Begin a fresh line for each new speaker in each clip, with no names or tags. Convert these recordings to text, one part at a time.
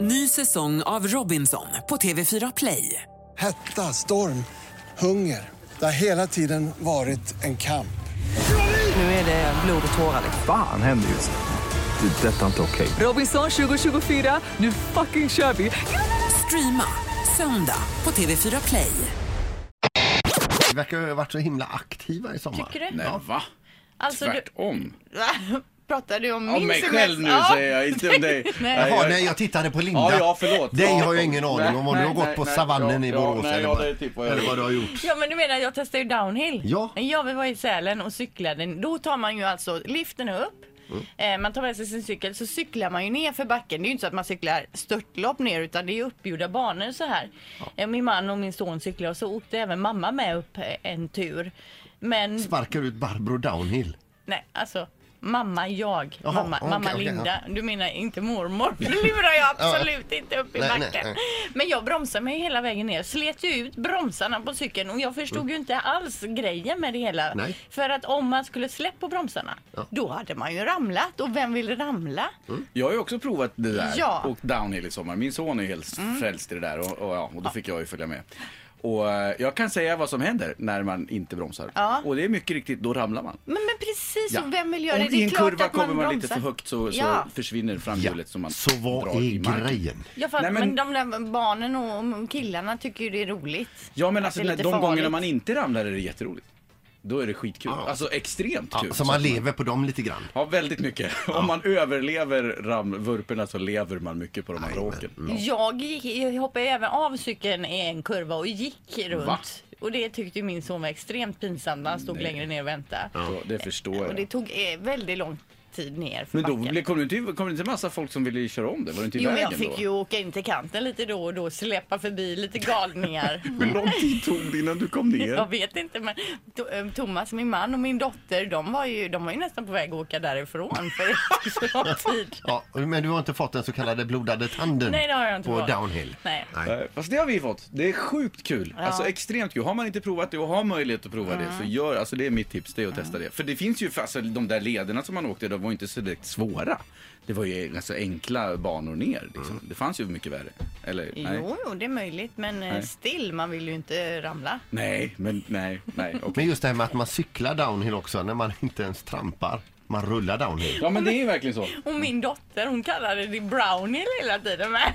Ny säsong av Robinson på TV4 Play.
Hetta, storm, hunger. Det har hela tiden varit en kamp.
Nu är det blod och tårar. liksom.
Fan händer just nu. Det. är Detta är inte okej.
Robinson 2024, nu fucking kör vi! Streama söndag på TV4 Play.
Vi verkar ha varit så himla aktiva i sommar.
Tycker du?
Nej, va?
Alltså, du...
Tvärtom.
Pratar du om min
Om mig
semester?
själv nu
Ja.
säger jag, inte om dig.
Nej.
Jaha, nej jag tittade på Linda.
Ja, ja, förlåt.
Dig
Ja,
har jag ingen aning om om du
nej,
har gått
nej,
på
nej,
savannen
ja,
i
ja,
Borås
nej,
eller,
ja,
vad,
det är typ vad jag
eller vad du har gjort.
Ja men du menar jag testar ju downhill?
Ja.
Ja vi var i Sälen och cyklade. Då tar man ju alltså liften upp.
Mm.
Eh, Man tar med sig sin cykel så cyklar man ju ner för backen. Det är ju inte så att man cyklar störtlopp ner utan det är ju uppgjorda banor så här. Eh, Min man och min son cyklar och så åkte även mamma med upp eh, en tur. Men
Sparkar ut Barbro Downhill.
nej alltså mamma jag.
Jaha,
mamma
okej,
mamma
okej,
Linda. Du menar inte mormor. Det lurar jag absolut inte upp i
Nej,
backen.
nej, nej.
Men jag bromsade mig hela vägen ner. Slet ju ut bromsarna på cykeln och jag förstod ju inte alls grejen med det hela.
Mm. Nej.
För att om man skulle släppa på bromsarna, då hade man ju ramlat. Och vem vill ramla?
Mm.
Jag har ju också provat det där.
Ja. Mm.
Åkt downhill i sommar. Min son är helt frälst i det där och, och, ja, och då fick jag ju följa med. Och eh, jag kan säga vad som händer när man inte bromsar.
Ja.
Och det är mycket riktigt, då ramlar man.
Men, men precis,
Ja.
och vem vill göra
Om
det?
i
Det är
en
klart
kurva
att man
kommer man lite
bromsar.
för högt så, så
Ja.
försvinner framhjulet som man
Så vad
drar
är
i marken. Typ
grejen?
Ja, för att,
Nej,
men... de
men-
där barnen och och killarna tycker ju det är roligt.
Ja men
Att
alltså
det är
när,
lite
de gångerna
farligt.
man inte ramlar är det jätteroligt. Då är det skitkul. Alltså extremt
Ja,
kul.
så man lever på dem lite grann.
Ja, väldigt mycket. Om man överlever ramvurporna så lever man mycket på de andra åken.
Jag gick, jag hoppade ju även av cykeln i en kurva och gick runt.
Va?
Och det tyckte ju min son var extremt pinsamt när han stod längre ner och väntade.
Så det förstår
Och
jag.
det tog eh, väldigt lång tid ner för
Men då
backen.
blev- kom det inte, kom det inte massa folk som ville köra om det? Var det inte i
Jo, men
vägen
jag fick
då?
ju åka in till kanten lite då och då, släppa förbi lite galningar.
Hur lång tid tog det innan du kom
Jag
ner?
vet inte men To- eh, Thomas, min man och min dotter de var ju, de var ju nästan på väg att åka därifrån för det tog så lång tid.
Ja, men du har inte fått den så kallade blodade tanden
Nej, det har jag inte
på
fått.
downhill?
Nej.
Nej, Fast det har vi fått. Det är sjukt kul. Alltså extremt kul. Har man inte provat det och har möjlighet att prova
Mm.
det så gör, alltså det är mitt tips, det är att testa det. För det finns ju, alltså de där lederna som man åkte, de var inte så direkt svåra. Det var ju alltså enkla banor ner liksom. Det fanns ju mycket värre. Eller? Nej.
Jo, jo, det är möjligt men eh,
Nej.
still, man vill ju inte ramla.
Nej, men nej, nej. okej.
Men just det här med att man cyklar downhill också när man inte ens trampar. Man rullar downhill.
Ja men det är ju verkligen så.
Och min dotter hon kallade det brownie hela tiden med.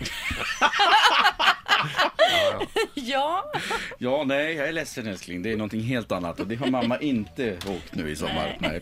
ja,
Ja, nej, jag är ledsen älskling. Det är någonting helt annat och det har mamma inte åkt nu i sommar. Nej.